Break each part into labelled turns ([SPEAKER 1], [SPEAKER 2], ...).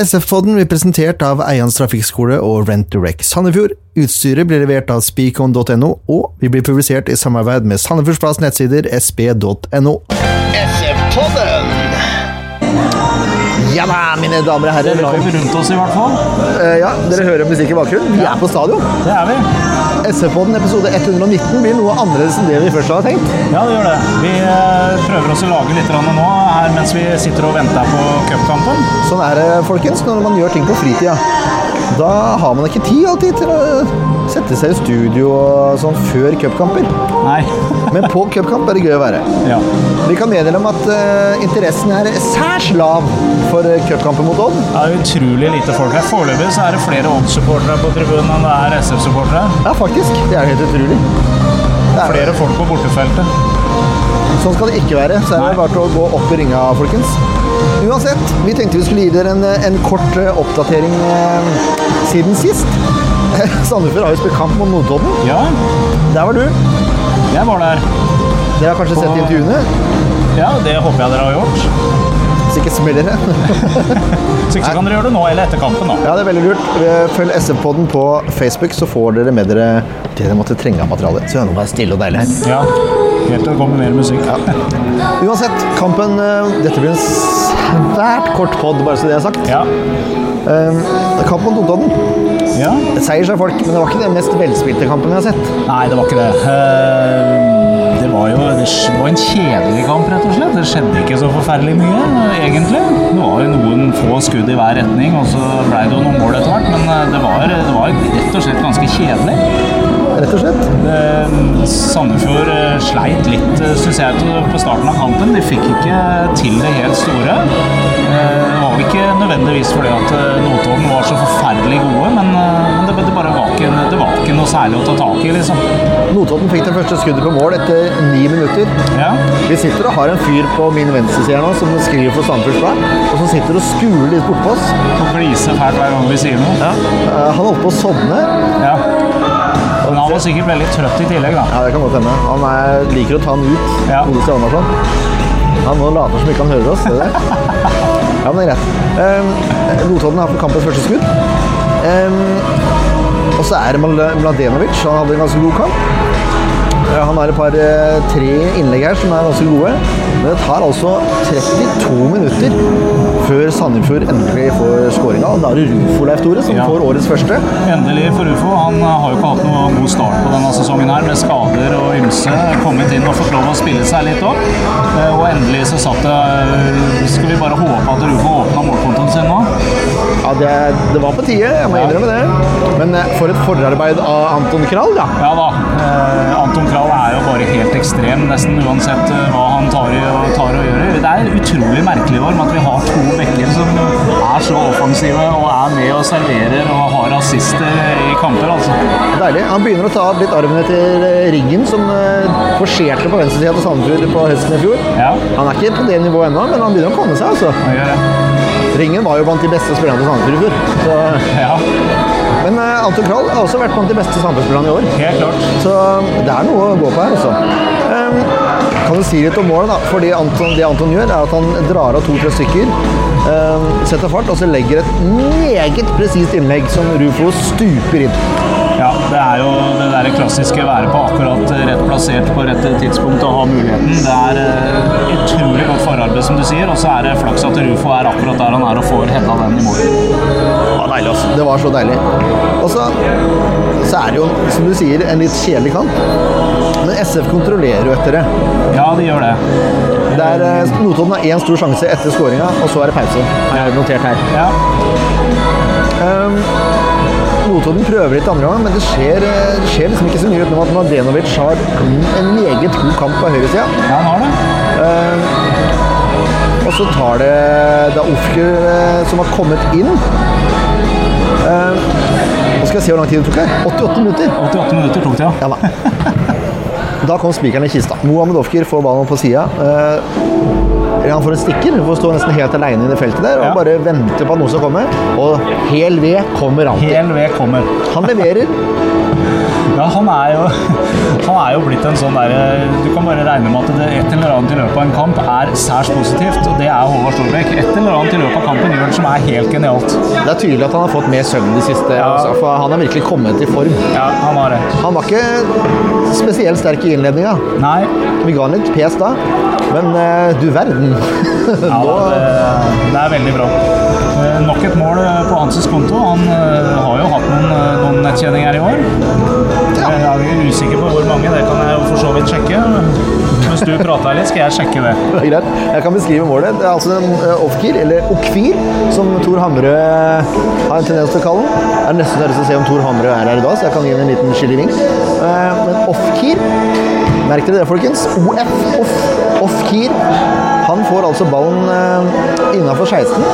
[SPEAKER 1] SF-podden blir presentert av Eians Trafikkskole og Rent Direct Sandefjord. Utstyret blir levert av speakon.no, og vi blir publisert i samarbeid med Sandefjordsplass nettsider sp.no.
[SPEAKER 2] SF-podden!
[SPEAKER 1] Ja da, mine damer og herrer. Eh,
[SPEAKER 3] Live rundt oss i hvert fall.
[SPEAKER 1] ja, dere hører musikk i bakgrunnen. Vi er på stadion.
[SPEAKER 3] Det er vi.
[SPEAKER 1] SF-podden episode 119 blir noe annerledes enn det vi først hadde tenkt.
[SPEAKER 3] Ja, det gjør det. Vi eh, prøver oss å lage litt grann nå her mens vi sitter og venter på cupkampen.
[SPEAKER 1] Sånn er det, folkens, når man gjør ting på fritida. Da har man ikke tid alltid til å sette seg i studio og sånn før cupkamper.
[SPEAKER 3] Nei.
[SPEAKER 1] Men på cupkamp er det gøy å være.
[SPEAKER 3] Ja.
[SPEAKER 1] Vi kan meddele om at eh, interessen er særs lav for eh, cupkampen mot Odd.
[SPEAKER 3] Det er utrolig lite folk her. Foreløpig så er det flere Odd-supportere på tribunen enn det er SF-supportere.
[SPEAKER 1] Ja, faktisk. Det er helt utrolig. Det er,
[SPEAKER 3] Flere folk på bortefeltet.
[SPEAKER 1] sånn skal det ikke være. Så er det
[SPEAKER 3] Nei.
[SPEAKER 1] bare til å gå opp i ringa, folkens. Uansett, vi tenkte vi skulle gi dere en, eh, en kort eh, oppdatering eh, siden sist. Sandefjord har jo spilt kamp mot Notodden.
[SPEAKER 3] Ja,
[SPEAKER 1] Der var du.
[SPEAKER 3] jeg var der.
[SPEAKER 1] Dere har kanskje sett intervjuene?
[SPEAKER 3] Ja, det håper jeg dere har gjort.
[SPEAKER 1] Hvis ikke smeller det.
[SPEAKER 3] Så ikke så kan dere gjøre det nå eller etter kampen, da.
[SPEAKER 1] Ja, det er veldig lurt. Eh, Følg SF-podden på Facebook, så får dere med dere det dere måtte trenge av materiale. Så nå er det stille og deilig her.
[SPEAKER 3] Ja. Helt til det kommer mer musikk.
[SPEAKER 1] Uansett, kampen eh, Dette blir en svært kort pod, bare så det er sagt.
[SPEAKER 3] Ja.
[SPEAKER 1] Eh, Kamp mot Notodden.
[SPEAKER 3] ja.
[SPEAKER 1] Seier sa folk, men det var ikke den mest velspilte kampen vi har sett.
[SPEAKER 3] Nei, det var ikke det. Eh, Det var jo det sk- var en kjedelig kamp, rett og slett. Det skjedde ikke så forferdelig mye, eh, egentlig. Det var jo noen få skudd i hver retning, og så ble det jo noen mål etter hvert. Men eh, det var, det var rett og slett ganske kjedelig.
[SPEAKER 1] Rett og slett.
[SPEAKER 3] Eh, Sandefjord eh, sleit litt, syns jeg, til- på starten av kampen. De fikk ikke til det helt store. Eh, Det var jo ikke nødvendigvis fordi at eh, Notodden var så forferdelig gode, men eh, det, det bare var ikke, det var ikke noe særlig å ta tak i, liksom.
[SPEAKER 1] Notodden fikk det første skuddet på mål etter ni minutter.
[SPEAKER 3] Ja.
[SPEAKER 1] Vi sitter og har en fyr på min venstreside her nå som skriver for Sandefjords Blad, og som sitter og skuler litt bortpå oss.
[SPEAKER 3] Og glise fælt hver gang vi sier noe. Ja.
[SPEAKER 1] Eh, Han holdt på å sovne.
[SPEAKER 3] Men han var sikkert veldig trøtt i tillegg, da.
[SPEAKER 1] Ja, det kan godt hende. Han er, liker å ta den ut.
[SPEAKER 3] Ja.
[SPEAKER 1] Ole Stian Andersson. Han nå later som ikke han hører oss. ser du Det Ja, men det er greit. Um, Notodden har på kampens første skudd. Ehm, og så er det Mla- Mladenovic. Han hadde en ganske god kamp. Eh, Han har et par eh, tre innlegg her som er ganske gode. Men det tar altså 32 minutter før Sandefjord endelig får skåringa. Da er det Rufo Leif Tore som
[SPEAKER 3] Ja.
[SPEAKER 1] får årets første.
[SPEAKER 3] Endelig for Ufo. Han eh, har jo ikke hatt noe god start på denne sesongen her, med skader og ymse. Kommet inn og fått lov å spille seg litt opp. Eh, Og endelig så satt det eh, Skal vi bare håpe at Ufo åpna målkontoen sin nå?
[SPEAKER 1] Ja, det, det var på tide, jeg må
[SPEAKER 3] Ja.
[SPEAKER 1] innrømme det. Men eh, for et forarbeid av Anton Krall, da.
[SPEAKER 3] Ja da. Eh, Anton Krall er jo bare helt ekstrem, nesten uansett eh, hva han tar, i, og tar og gjør. Det er utrolig merkelig i år med at vi har to bekker som er så offensive og er med og serverer og har assister i kamper, altså.
[SPEAKER 1] Deilig. Han begynner å ta av litt arven etter eh, Riggen, som eh, forserte på venstresida til Sandefjord på høsten i fjor.
[SPEAKER 3] Ja,
[SPEAKER 1] Han er ikke på det nivået ennå, men han begynner å komme seg. altså.
[SPEAKER 3] han gjør det.
[SPEAKER 1] Ringen var jo blant de beste spillerne til Sandefjord i fjor. Så.
[SPEAKER 3] Ja,
[SPEAKER 1] Men eh, Anton Krall har også vært blant de beste Sandefjord-spillerne i år.
[SPEAKER 3] helt klart.
[SPEAKER 1] Så det er noe å gå på her, altså. Ehm, kan du si litt om målet, da? Fordi Anton, det Anton gjør, er at han drar av to-tre stykker, ehm, setter fart, og så legger et meget presist innlegg som Rufo stuper inn.
[SPEAKER 3] Ja, det er jo det der klassiske være på akkurat eh, rett plassert på rett tidspunkt og ha muligheten. Det er eh, utrolig godt forarbeid, som du sier, og så er det flaks at Rufo er akkurat der han er og får hedda den i mål.
[SPEAKER 1] Det var deilig, altså. Det var så deilig. Og så, så er det jo, som du sier, en litt kjedelig kamp. Men SF kontrollerer jo etter det.
[SPEAKER 3] Ja, de gjør det.
[SPEAKER 1] det er, eh, Notodden har én stor sjanse etter skåringa, og så er det pause. Har jeg notert her.
[SPEAKER 3] Ja,
[SPEAKER 1] Ehm, Notodden prøver litt andre gang, men det skjer, eh, det skjer liksom ikke så mye utenom at Mladenovic har en meget god kamp på høyresida.
[SPEAKER 3] ja han har det.
[SPEAKER 1] Ehm, og så tar det da Ofker eh, som har kommet inn. Ehm, nå skal jeg se hvor lang tid det tok her. 88 minutter.
[SPEAKER 3] 88 minutter tok det, ja.
[SPEAKER 1] Ja da. Da kom spikeren i kista. Mohammed Ofker får ballen på sida. Eh, han får en stikker. Får stå nesten helt aleine i det feltet der og
[SPEAKER 3] Ja.
[SPEAKER 1] bare vente på at noen skal komme. Og hel ved kommer alltid.
[SPEAKER 3] Hel ved kommer.
[SPEAKER 1] Han leverer.
[SPEAKER 3] Ja, han er jo, han er jo blitt en sånn derre Du kan bare regne med at det et eller annet i løpet av en kamp er særs positivt, og det er Håvard Storbekk. Et eller annet i løpet av kampen gjør han som er helt genialt.
[SPEAKER 1] Det er tydelig at han har fått mer søvn de siste
[SPEAKER 3] Ja.
[SPEAKER 1] altså, for Han er virkelig kommet i form.
[SPEAKER 3] Ja, han har det.
[SPEAKER 1] Han var ikke spesielt sterk i innledninga.
[SPEAKER 3] Nei,
[SPEAKER 1] Vi ga han litt pes da, men eh, du verden.
[SPEAKER 3] ja,
[SPEAKER 1] Nå
[SPEAKER 3] da, det, det er veldig bra. Eh, Nok et mål eh, på Hanses konto. Han eh, har jo hatt noen, eh, noen nettkjenninger i år. Eh,
[SPEAKER 1] Ja.
[SPEAKER 3] Jeg er jo usikker på hvor mange, det kan jeg jo for så vidt sjekke. men Mens du prater litt, skal jeg sjekke det.
[SPEAKER 1] Det er greit. Jeg kan beskrive målet. Det er altså en eh, off-keer, eller okfir, som Tor Hamre eh, har en tendens til å kalle den. Jeg er nesten så jeg har lyst til å se om Tor Hamre er her i dag, så jeg kan gi ham en liten skillering. Eh, Men off-keer Merk dere det, folkens. OF. Off. Off-keer. Han får altså ballen innafor 16.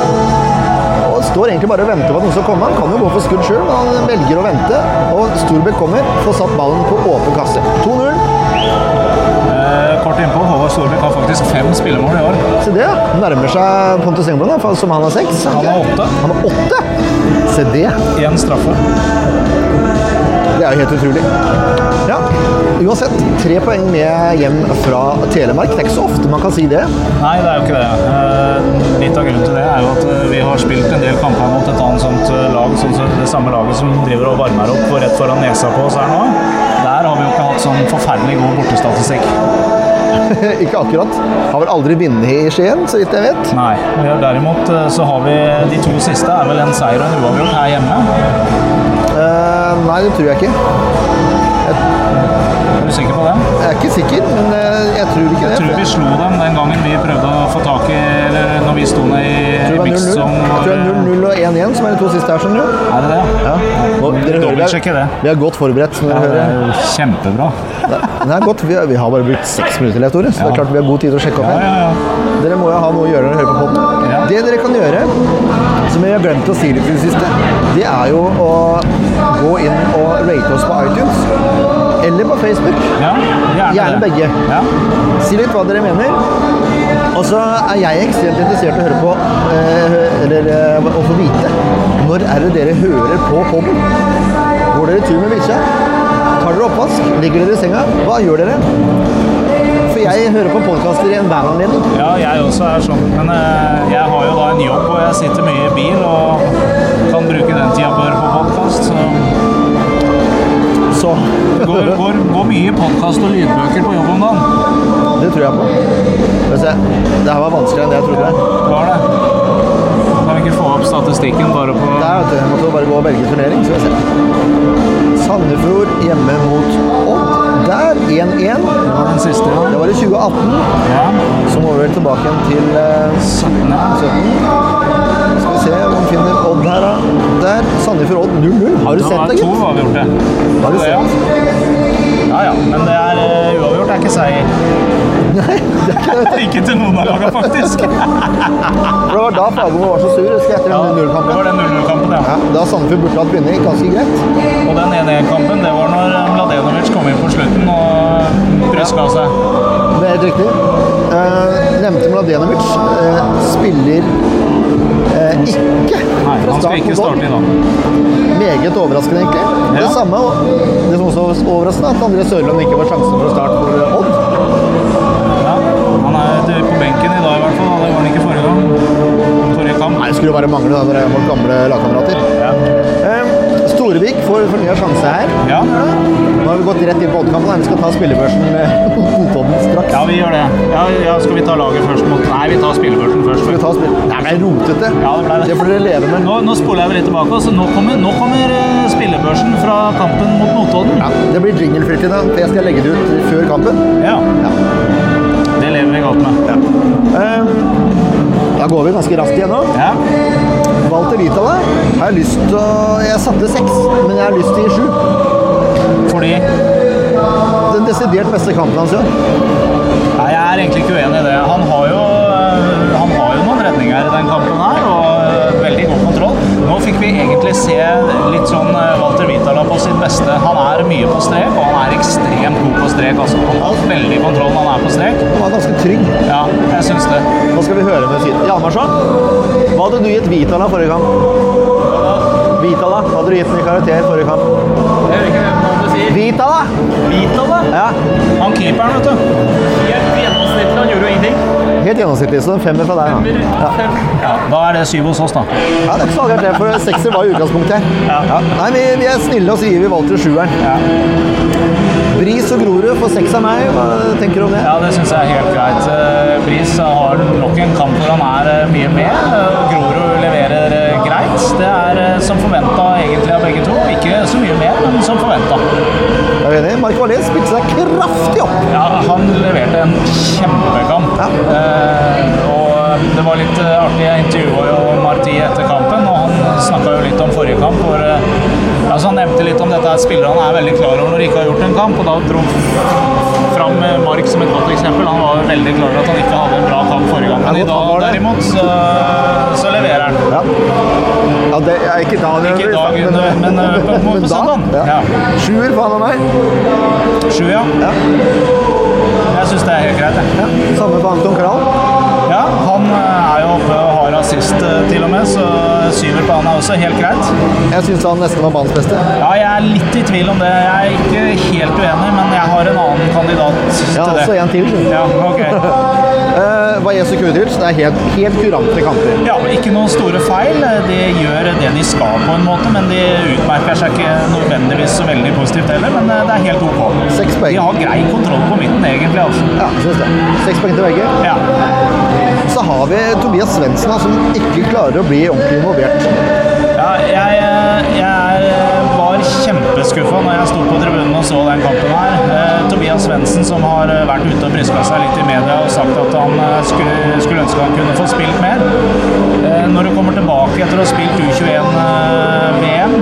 [SPEAKER 1] Og står egentlig bare og venter på at noen skal komme. Han kan jo gå for skudd sjøl, men han velger å vente. Og Storbekk kommer, får satt ballen på åpen kasse. 2-0.
[SPEAKER 3] Eh, Kort innpå, Håvard Storbekk har faktisk fem spillemål i år.
[SPEAKER 1] Se det, ja. nærmer seg Pontus Engblom, da, for- som han har seks. er det
[SPEAKER 3] Han
[SPEAKER 1] ikke?
[SPEAKER 3] har åtte.
[SPEAKER 1] Han har åtte? Se det.
[SPEAKER 3] Én straffe.
[SPEAKER 1] Det er jo helt utrolig. Ja, Uansett, tre poeng med hjem fra Telemark. Det er ikke så ofte man kan si det.
[SPEAKER 3] Nei, det er jo ikke det. Eh, Litt av grunnen til det er jo at eh, vi har spilt en del kamper mot et annet sånt eh, lag, sånn som det samme laget som driver og varmer opp og rett foran nesa på oss her nå. Der har vi jo ikke hatt sånn forferdelig god bortestatistikk.
[SPEAKER 1] ikke akkurat. Har vel aldri vunnet i Skien, så vidt jeg vet.
[SPEAKER 3] Nei. Vi har derimot eh, så har vi de to siste er vel en seier og en uavgjort her hjemme.
[SPEAKER 1] Eh, nei, det tror jeg ikke.
[SPEAKER 3] Er du sikker på det?
[SPEAKER 1] Jeg er ikke sikker, men eh, jeg tror ikke det.
[SPEAKER 3] Jeg tror vi slo dem den gangen vi prøvde å få tak i Eller når vi sto ned i eh,
[SPEAKER 1] Jeg tror det
[SPEAKER 3] Mix
[SPEAKER 1] var
[SPEAKER 3] som
[SPEAKER 1] 0-0. Jeg tror det er 0-0 og 1-1 som er de to siste her, skjønner du.
[SPEAKER 3] Er det det?
[SPEAKER 1] Ja. Nå, dere hører vi
[SPEAKER 3] Dobbeltsjekke det.
[SPEAKER 1] er, vi er godt forberedt. Når dere
[SPEAKER 3] Det
[SPEAKER 1] hører.
[SPEAKER 3] er jo kjempebra.
[SPEAKER 1] Det er godt. Vi har, vi har bare brukt seks minutter, Leif Tore, så det
[SPEAKER 3] Ja.
[SPEAKER 1] er klart vi har god tid til å sjekke opp
[SPEAKER 3] Ja,
[SPEAKER 1] her.
[SPEAKER 3] ja, ja.
[SPEAKER 1] Dere må jo ha noe å gjøre når dere hører på podden.
[SPEAKER 3] Ja.
[SPEAKER 1] Det dere kan gjøre, som jeg har glemt å si litt i det siste, det er jo å gå inn og rate oss på iTunes eller på Facebook.
[SPEAKER 3] ja gjerne,
[SPEAKER 1] Gjerne
[SPEAKER 3] det.
[SPEAKER 1] begge.
[SPEAKER 3] Ja.
[SPEAKER 1] Si litt hva dere mener. Og så er jeg ekstremt interessert i å høre på, eh, eller eh, å få vite, når er det dere hører på podden? Går dere tur med bikkja? Tar dere oppvask? Ligger dere i senga? Hva gjør dere? For jeg hører på podkaster i enhver anledning.
[SPEAKER 3] Ja, jeg også er sånn, men eh, jeg har jo da en jobb og jeg sitter mye i bil og kan bruke den tida på å høre på podkast. Så
[SPEAKER 1] Så
[SPEAKER 3] går, går, går mye podkast og lydbøker på jobb om dagen.
[SPEAKER 1] det tror jeg på. Skal vi se. Det her var vanskeligere enn det jeg trodde.
[SPEAKER 3] Det var det. Kan vi ikke få opp statistikken bare på
[SPEAKER 1] Der, vet du. Jeg måtte bare gå og velge turnering. Skal vi se. Sandefjord hjemme mot Odd. Der 1-1.
[SPEAKER 3] Det var den siste? ja.
[SPEAKER 1] Det var i 2018.
[SPEAKER 3] Ja.
[SPEAKER 1] Så må vi vel tilbake igjen til eh,
[SPEAKER 3] 17. ja.
[SPEAKER 1] 17. Skal vi se om vi finner Odd her, da. Der. Sandefjord Odd 0-0. Har du
[SPEAKER 3] Det
[SPEAKER 1] sett
[SPEAKER 3] var
[SPEAKER 1] det,
[SPEAKER 3] to
[SPEAKER 1] gitt?
[SPEAKER 3] avgjorte.
[SPEAKER 1] Har du
[SPEAKER 3] Det, ja. Ja ja, men det er eh, uavgjort. Det er ikke seier. Ikke til noen av lagene, faktisk. Ja,
[SPEAKER 1] For det var da Fagermo var så sur, husker jeg, etter den
[SPEAKER 3] det
[SPEAKER 1] 0-0-kampen.
[SPEAKER 3] var den 0-0-kampen, ja.
[SPEAKER 1] Ja, da Sandefjord burde hatt vinning, ganske greit.
[SPEAKER 3] Og den 1-1-kampen, det var når eh, Mladenovic kom inn på slutten og bryska seg.
[SPEAKER 1] Det er helt riktig. Eh, nevnte Mladenovic. eh, spiller eh, ikke
[SPEAKER 3] Nei, han skal ikke
[SPEAKER 1] mot Odd.
[SPEAKER 3] starte i dag.
[SPEAKER 1] Meget overraskende, egentlig.
[SPEAKER 3] Ja.
[SPEAKER 1] Det samme, og det som også var overraskende, at André Sørlund ikke var sjansen for å starte for Odd.
[SPEAKER 3] Ja, han er til- på benken i dag i hvert fall, og det var han ikke forrige gang. Forrige kamp.
[SPEAKER 1] Nei, det skulle jo bare mangle da, når det er vårt gamle lagkamerater.
[SPEAKER 3] Ja.
[SPEAKER 1] Eh, Storevik får fornya sjanse her.
[SPEAKER 3] Ja.
[SPEAKER 1] Nå har vi gått rett inn på Oddkampen. her. Vi skal ta spillebørsen med Notodden straks.
[SPEAKER 3] ja, vi gjør det. Ja, ja, skal vi ta laget først mot Nei, vi tar spillebørsen først.
[SPEAKER 1] Skal vi ta spill... Nei, det er rotete.
[SPEAKER 3] Ja, det ble det.
[SPEAKER 1] får dere leve med.
[SPEAKER 3] Nå, nå spoler jeg vel litt tilbake. Altså, nå kommer, nå kommer eh, spillebørsen fra kampen mot Notodden.
[SPEAKER 1] Ja, det blir jinglefritt i dag, for jeg skal legge det ut før kampen.
[SPEAKER 3] Ja,
[SPEAKER 1] Ja.
[SPEAKER 3] det lever vi godt med.
[SPEAKER 1] Eh, da går vi ganske raskt igjennom.
[SPEAKER 3] Ja,
[SPEAKER 1] Walter Vitala har jeg lyst til å Jeg satte seks, men jeg har lyst til å gi sju.
[SPEAKER 3] fordi Nei,
[SPEAKER 1] Den desidert beste kampen hans i år.
[SPEAKER 3] jeg er egentlig ikke uenig i det. Han har jo, eh, han har jo noen redninger i den kampen her, og eh, veldig god kontroll. Nå fikk vi egentlig se litt sånn eh, Walter Vitala på sitt beste. Han er mye på strek, og han er ekstremt god på strek. Altså. Han har veldig kontroll når han er på strek.
[SPEAKER 1] Han var ganske trygg.
[SPEAKER 3] Ja, jeg syns det.
[SPEAKER 1] Nå skal vi høre med siden. Hjalmarsson, hva hadde du gitt Vitala forrige kamp? Vitala, hva hadde du gitt den i karakter forrige kamp?
[SPEAKER 4] Jeg hører ikke hvem han sier.
[SPEAKER 1] Vi Vita, da?
[SPEAKER 4] Vita, da.
[SPEAKER 1] Ja.
[SPEAKER 3] Han keeperen, vet du.
[SPEAKER 4] Helt gjennomsnittlig, han gjorde jo ingenting.
[SPEAKER 1] Helt gjennomsnittlig. Så en femmer fra deg.
[SPEAKER 4] Fem,
[SPEAKER 1] da. Ja.
[SPEAKER 3] Ja, da er det syv hos oss, da.
[SPEAKER 1] Ja, det er ikke så galt, det, for sekser var i utgangspunktet. Ja. Nei, vi, vi er snille og så gir vi valg til sjueren. Bris og Grorud får seks av meg. Hva tenker du om det?
[SPEAKER 3] Ja, det syns jeg er helt greit. Eh, Bris har nok en kamp hvor han er eh, mye med. eh, og Grorud leverer eh, greit. Det er eh, som forventa egentlig av begge to. Ikke så mye mer, men som forventa.
[SPEAKER 1] Er du enig? Mark Wallin spilte seg kraftig opp.
[SPEAKER 3] Ja, han leverte en kjempekamp.
[SPEAKER 1] Ja.
[SPEAKER 3] Eh, og det var litt eh, artig. Jeg intervjua jo Marti etter kampen, og han snakka jo litt om forrige kamp. Hvor, eh, altså han nevnte litt om dette er spillere han er veldig klar over når de ikke har gjort en kamp. Og da dro han fram eh, Mark som et godt eksempel. Han var veldig klar over at han ikke hadde en bra kamp forrige gang. Men
[SPEAKER 1] Ja,
[SPEAKER 3] i
[SPEAKER 1] han
[SPEAKER 3] dag,
[SPEAKER 1] var det.
[SPEAKER 3] derimot, så, så leverer han.
[SPEAKER 1] Ja. ja, det er ikke da
[SPEAKER 3] Ikke i dag, men- men, eh, på- på- på søndagen.
[SPEAKER 1] Ja.
[SPEAKER 3] Ja.
[SPEAKER 1] Sjuer på han og meg.
[SPEAKER 3] Sju, ja.
[SPEAKER 1] Ja.
[SPEAKER 3] Jeg syns det er helt greit, jeg.
[SPEAKER 1] Ja. Samme på Anton Kral.
[SPEAKER 3] Ja, han eh, er jo oppe og har assist eh, til og med, så syver på han er også helt greit.
[SPEAKER 1] Jeg syns han nesten var banens beste.
[SPEAKER 3] Ja, jeg er litt i tvil om det. Jeg er ikke helt uenig, men jeg har en annen kandidat til
[SPEAKER 1] Ja, altså, også
[SPEAKER 3] det.
[SPEAKER 1] en til.
[SPEAKER 3] Ja, ok.
[SPEAKER 1] Uh, var Jesu Kudils. Det er helt, helt kurante kamper.
[SPEAKER 3] Ja, ikke noen store feil. De gjør det de skal på en måte, men de utmerker seg ikke nødvendigvis så veldig positivt heller, men eh, det er helt ok.
[SPEAKER 1] Seks poeng.
[SPEAKER 3] De har grei kontroll på midten egentlig, altså.
[SPEAKER 1] Ja, synes det. Seks poeng til begge.
[SPEAKER 3] Ja.
[SPEAKER 1] Så har vi Tobias Svendsen, da, som ikke klarer å bli ordentlig involvert.
[SPEAKER 3] Ja, jeg, eh, jeg eh, var kjempeskuffa når jeg sto på tribunen og så den kampen her. Eh, Tobias Svendsen, som har eh, vært ute og bryska seg litt i media og sagt at han eh, skulle, skulle ønske han kunne få spilt mer. Eh, når du kommer tilbake etter å ha spilt eh, U21-VM,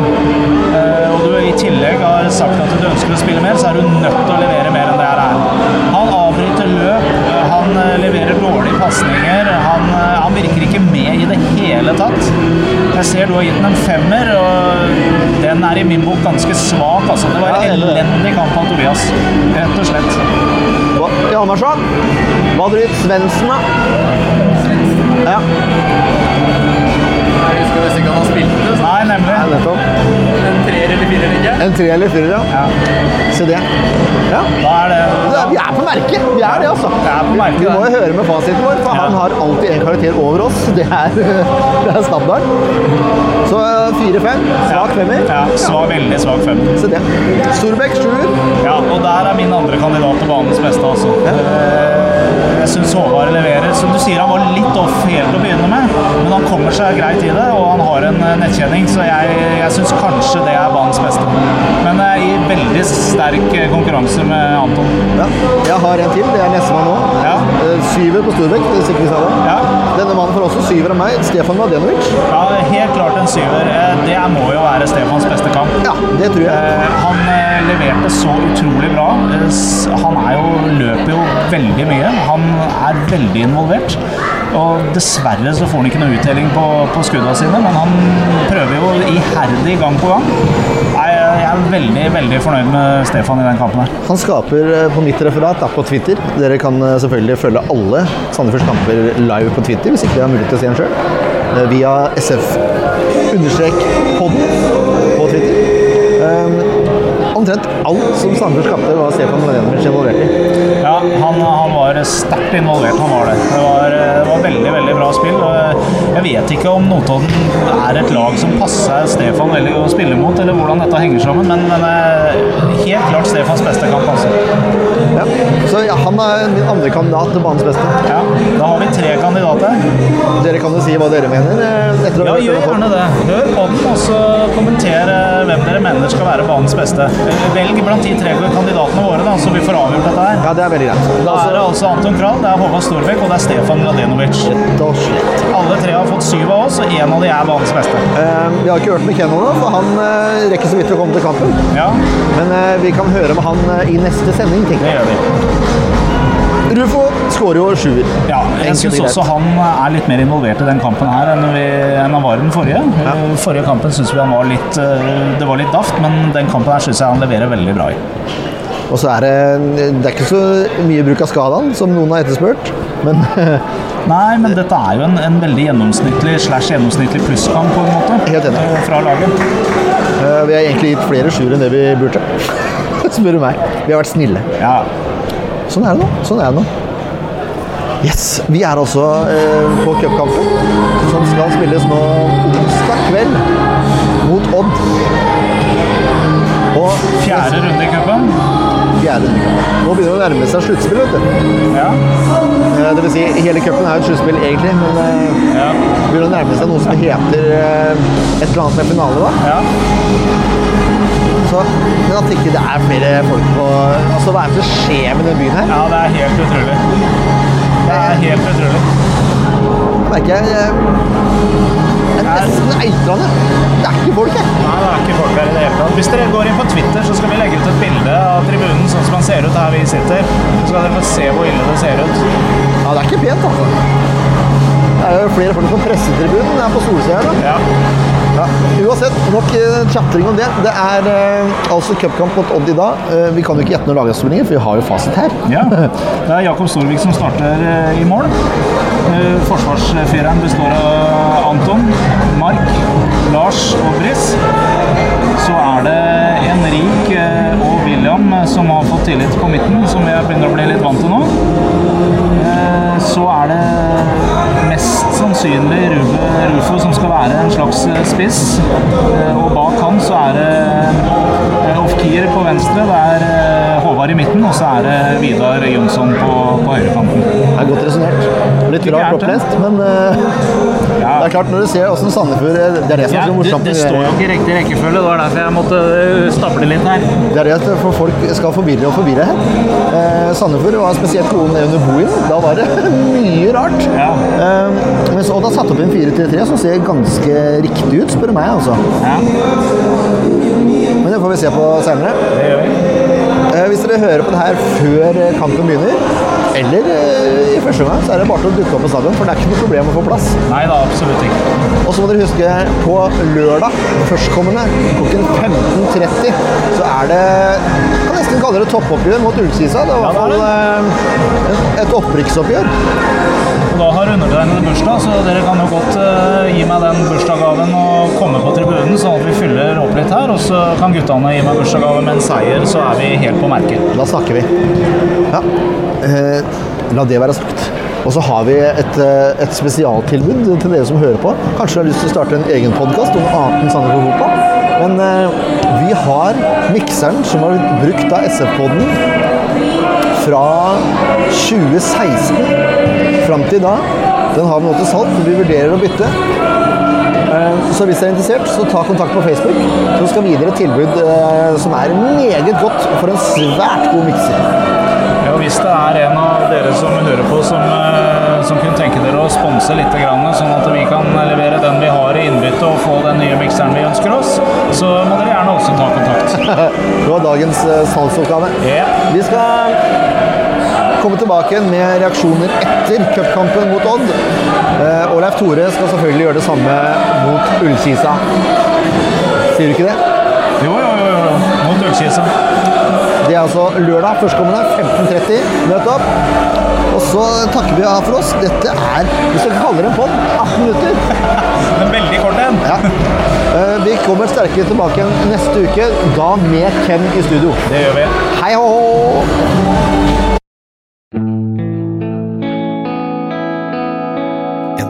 [SPEAKER 3] eh, og du i tillegg har sagt at du ønsker å spille mer, så er du nødt til å levere mer enn det her er. Han avbryter løp, eh, han eh, leverer dårlige pasninger, han, eh, han virker ikke med i det hele tatt. Jeg ser du har gitt den en femmer, og den er i min bok ganske svak. Altså. Det var
[SPEAKER 1] Ja,
[SPEAKER 3] en
[SPEAKER 1] det er det.
[SPEAKER 3] elendig kamp av Tobias, rett og slett.
[SPEAKER 1] Hva, I Almarsson, hva hadde du gitt Svendsen, da? Ja,
[SPEAKER 4] Jeg husker nesten ikke han har spilt det.
[SPEAKER 3] Nei,
[SPEAKER 1] ja,
[SPEAKER 3] nemlig.
[SPEAKER 1] nettopp.
[SPEAKER 4] så En treer eller firer ligger.
[SPEAKER 1] En tre eller fire, ja.
[SPEAKER 3] Ja,
[SPEAKER 1] Se det. Ja.
[SPEAKER 3] da er det
[SPEAKER 1] Det er- Vi er på merket! Vi er det, altså.
[SPEAKER 3] er på merket,
[SPEAKER 1] Vi må
[SPEAKER 3] det.
[SPEAKER 1] jo høre med fasiten vår, for
[SPEAKER 3] Ja.
[SPEAKER 1] han har alltid en karakter over oss. Det er, det er standard. Så eh, fire-fem. Svak femmer.
[SPEAKER 3] Ja, svar, veldig svak fem.
[SPEAKER 1] Se det. Storbekk sjuer.
[SPEAKER 3] Ja, og der er min andre kandidat til banens beste, altså. Eh, Jeg syns Håvard leverer. Som du sier, han var litt off helt til å begynne med, men han kommer seg greit i det, og han har en eh, nettkjenning, så jeg, jeg syns kanskje det er banens beste. Men eh, i veldig sterk eh, konkurranse med Anton.
[SPEAKER 1] Ja. Jeg har en til. Det er nestemann nå.
[SPEAKER 3] Ja.
[SPEAKER 1] Eh, Syver på Storbekk. hvis ikke vi sa det.
[SPEAKER 3] Ja,
[SPEAKER 1] Denne mannen får også syver av meg. Stefan Mladenovic.
[SPEAKER 3] ja helt klart en syver. Eh, Det er- må jo være Stefans beste kamp.
[SPEAKER 1] Ja, det tror jeg.
[SPEAKER 3] Eh, Han eh, leverte så utrolig bra. Eh, s- Han er jo, løper jo veldig mye. Han er veldig involvert. Og dessverre så får han ikke noe uttelling på, på skuddene sine, men han prøver jo iherdig gang på gang. Nei, Jeg jeg er veldig, veldig fornøyd med Stefan i den kampen her.
[SPEAKER 1] Han skaper eh, på mitt referat da, på Twitter. Dere kan eh, selvfølgelig følge alle Sandefjords kamper live på Twitter, hvis ikke dere har mulighet til å se den sjøl. Via SF-podden på Twitter. Um, omtrent alt som Sandefjord skapte, var Stefan Mladenovic involvert i.
[SPEAKER 3] Ja, han, han var sterkt involvert, han var det. Det var, det var veldig, veldig bra spill. og Jeg vet ikke om Notodden er et lag som passer Stefan veldig å spille mot, eller hvordan dette henger sammen, men, men eh, helt klart Stefans beste kamp, altså.
[SPEAKER 1] Ja. Så ja, han er min andre kandidat til banens beste.
[SPEAKER 3] Ja, da har vi tre kandidater.
[SPEAKER 1] Dere kan jo si hva dere mener. eh, Etter å ha
[SPEAKER 3] Ja,
[SPEAKER 1] hørt
[SPEAKER 3] gjør
[SPEAKER 1] denne podden.
[SPEAKER 3] gjerne det. Hør på den, og så kommenter eh, hvem dere mener skal være banens beste. Velg blant de tre kandidatene våre, da, så vi får avgjort dette her.
[SPEAKER 1] Ja, det er veldig greit.
[SPEAKER 3] Da er det altså Anton Kral, det er Håvard Storbekk og det er Stefan Mladenovic.
[SPEAKER 1] Da slett.
[SPEAKER 3] Alle tre har fått syv av oss, og én av de er banens beste.
[SPEAKER 1] Eh, vi har ikke hørt med Ken nå, for han eh, rekker så vidt å komme til kampen.
[SPEAKER 3] Ja,
[SPEAKER 1] Men eh, vi kan høre med han eh, i neste sending. tenker
[SPEAKER 3] det
[SPEAKER 1] jeg.
[SPEAKER 3] gjør vi.
[SPEAKER 1] Rufo skårer jo sjuer.
[SPEAKER 3] Ja, jeg
[SPEAKER 1] Enkelt og
[SPEAKER 3] syns
[SPEAKER 1] greit.
[SPEAKER 3] også han er litt mer involvert i den kampen her enn, vi, enn han var i den forrige. Eh, Forrige kampen syns vi han var litt eh, Det var litt daft, men den kampen her syns jeg han leverer veldig bra i.
[SPEAKER 1] Og så er det, eh, det er ikke så mye bruk av skadaen, som noen har etterspurt. Men eh,
[SPEAKER 3] Nei, men dette er jo en, en veldig gjennomsnittlig slash gjennomsnittlig plusskamp, på en måte.
[SPEAKER 1] Helt enig.
[SPEAKER 3] eh, Fra laget.
[SPEAKER 1] eh, vi har egentlig gitt flere sjuer enn det vi burde. spør du meg. Vi har vært snille.
[SPEAKER 3] Ja.
[SPEAKER 1] Sånn er det nå. Sånn er det nå. Yes, Vi er altså eh, på cupkampen, som skal spilles nå onsdag kveld mot Odd. Og
[SPEAKER 3] Fjerde runde i cupen.
[SPEAKER 1] fjerde rundekamp. Nå begynner det å nærme seg sluttspill. vet du.
[SPEAKER 3] Ja.
[SPEAKER 1] Eh, det vil si, hele cupen er jo et sluttspill egentlig, men eh,
[SPEAKER 3] Ja.
[SPEAKER 1] det begynner å nærme seg noe som heter eh, et eller annet med finale, da.
[SPEAKER 3] ja.
[SPEAKER 1] Så, men at ikke det er flere folk på Altså, hva er det som skjer med denne byen her?
[SPEAKER 3] Ja, det er helt utrolig. Det er helt utrolig.
[SPEAKER 1] Jeg merker jeg eh, Det er nesten eitrende. Det er ikke folk her.
[SPEAKER 3] Nei, det er ikke folk her i det hele tatt. Hvis dere går inn på Twitter, så skal vi legge ut et bilde av tribunen sånn som den ser ut her vi sitter. Så skal dere få se hvor ille det ser ut.
[SPEAKER 1] Ja, det er ikke pent, altså. Det er jo flere folk på pressetribunen her på Solsida her, da.
[SPEAKER 3] Ja.
[SPEAKER 1] Ja. Uansett, nok eh, tjatring om det. Det er eh, altså cupkamp mot Odd i dag. Eh, vi kan jo ikke gjette noen lagoppstillinger, for vi har jo fasit her.
[SPEAKER 3] Ja, Det er Jakob Storvik som starter eh, i mål. Eh, Forsvarsfireren består av Anton, Mark, Lars og Briss. Så er det Henrik eh, og William eh, som har fått tillit på midten, som jeg begynner å bli litt vant til nå. Eh, Så er det mest sannsynlig Rube Rufo som skal være en slags eh, spiss. Eh, Og bak han så er det eh, Ofkir på venstre, det er eh, Håvard i midten, og så er det Vidar Jonsson på, på høyrekanten.
[SPEAKER 1] Det er godt resonnert. Litt
[SPEAKER 3] Ikke
[SPEAKER 1] rart
[SPEAKER 3] gærent, det.
[SPEAKER 1] opplest, men eh,
[SPEAKER 3] Ja.
[SPEAKER 1] det er klart, når du ser åssen Sandefjord eh, Det er det som er så morsomt. med det-
[SPEAKER 3] ikke i riktig rekkefølge, det var derfor jeg måtte eh, stable litt her.
[SPEAKER 1] Det er det at for folk skal forvirre og forvirre her. Eh, Sandefjord var spesielt gode med det under boen. Da var det mye rart.
[SPEAKER 3] Ja.
[SPEAKER 1] Eh, mens Odd har satt opp en 4-3-3 som ser ganske riktig ut, spør du meg. altså.
[SPEAKER 3] Ja,
[SPEAKER 1] Men det får vi se på seinere.
[SPEAKER 3] det gjør vi.
[SPEAKER 1] Eh, hvis dere hører på det her før eh, kampen begynner, eller eh, i første omgang, så er det bare til å dukke opp på stadion, for det er ikke noe problem å få plass.
[SPEAKER 3] Nei da, absolutt ikke.
[SPEAKER 1] Og så må dere huske, på lørdag førstkommende klokken 15.30 så er det Jeg kan nesten kalle det toppoppgjør mot Ullkisa. Det var i
[SPEAKER 3] Ja, det
[SPEAKER 1] hvert fall eh, et opprykksoppgjør.
[SPEAKER 3] Og da har undertegnede bursdag, så dere kan jo godt eh, gi meg den bursdagsgaven og komme på tribunen, sånn at vi fyller opp litt her. Og så kan guttene gi meg bursdagsgave med en seier, så er vi helt på merket.
[SPEAKER 1] Da snakker vi. Ja. Eh, la det være sagt. Og så har vi et, eh, et spesialtilbud til dere som hører på. Kanskje dere har lyst til å starte en egen podkast om Arten Sandefjord Fotball. Men eh, vi har mikseren som har blitt brukt av SF-poden fra 2016 fram til da. Den har vi nå til salg, for vi vurderer å bytte. Eh, Så hvis dere er interessert, så ta kontakt på Facebook. Så skal vi gi dere et tilbud eh, som er meget godt for en svært god mikser.
[SPEAKER 3] Ja, og hvis det er en av dere som hører på som, eh, som kunne tenke dere å sponse litt, grann, sånn at vi kan levere den vi har i innbytte og få den nye mikseren vi ønsker oss, så må dere gjerne også ta kontakt.
[SPEAKER 1] Det var dagens eh, salgsoppgave.
[SPEAKER 3] Ja.
[SPEAKER 1] Vi skal komme tilbake med reaksjoner etter cupkampen mot Odd. Eh, Og Leif Tore skal selvfølgelig gjøre det samme mot Ullkisa. Sier du ikke det?
[SPEAKER 3] Jo, jo, jo. jo. Mot Ullkisa.
[SPEAKER 1] Det er altså lørdag førstkommende 15.30. Møt opp. Og så takker vi av for oss. Dette er, hvis dere kaller det en podd, 18 minutter.
[SPEAKER 3] Men veldig kort en.
[SPEAKER 1] Ja. Eh, Vi kommer sterkere tilbake igjen neste uke, da med Ken i studio.
[SPEAKER 3] Det gjør vi.
[SPEAKER 1] Hei hå!
[SPEAKER 5] En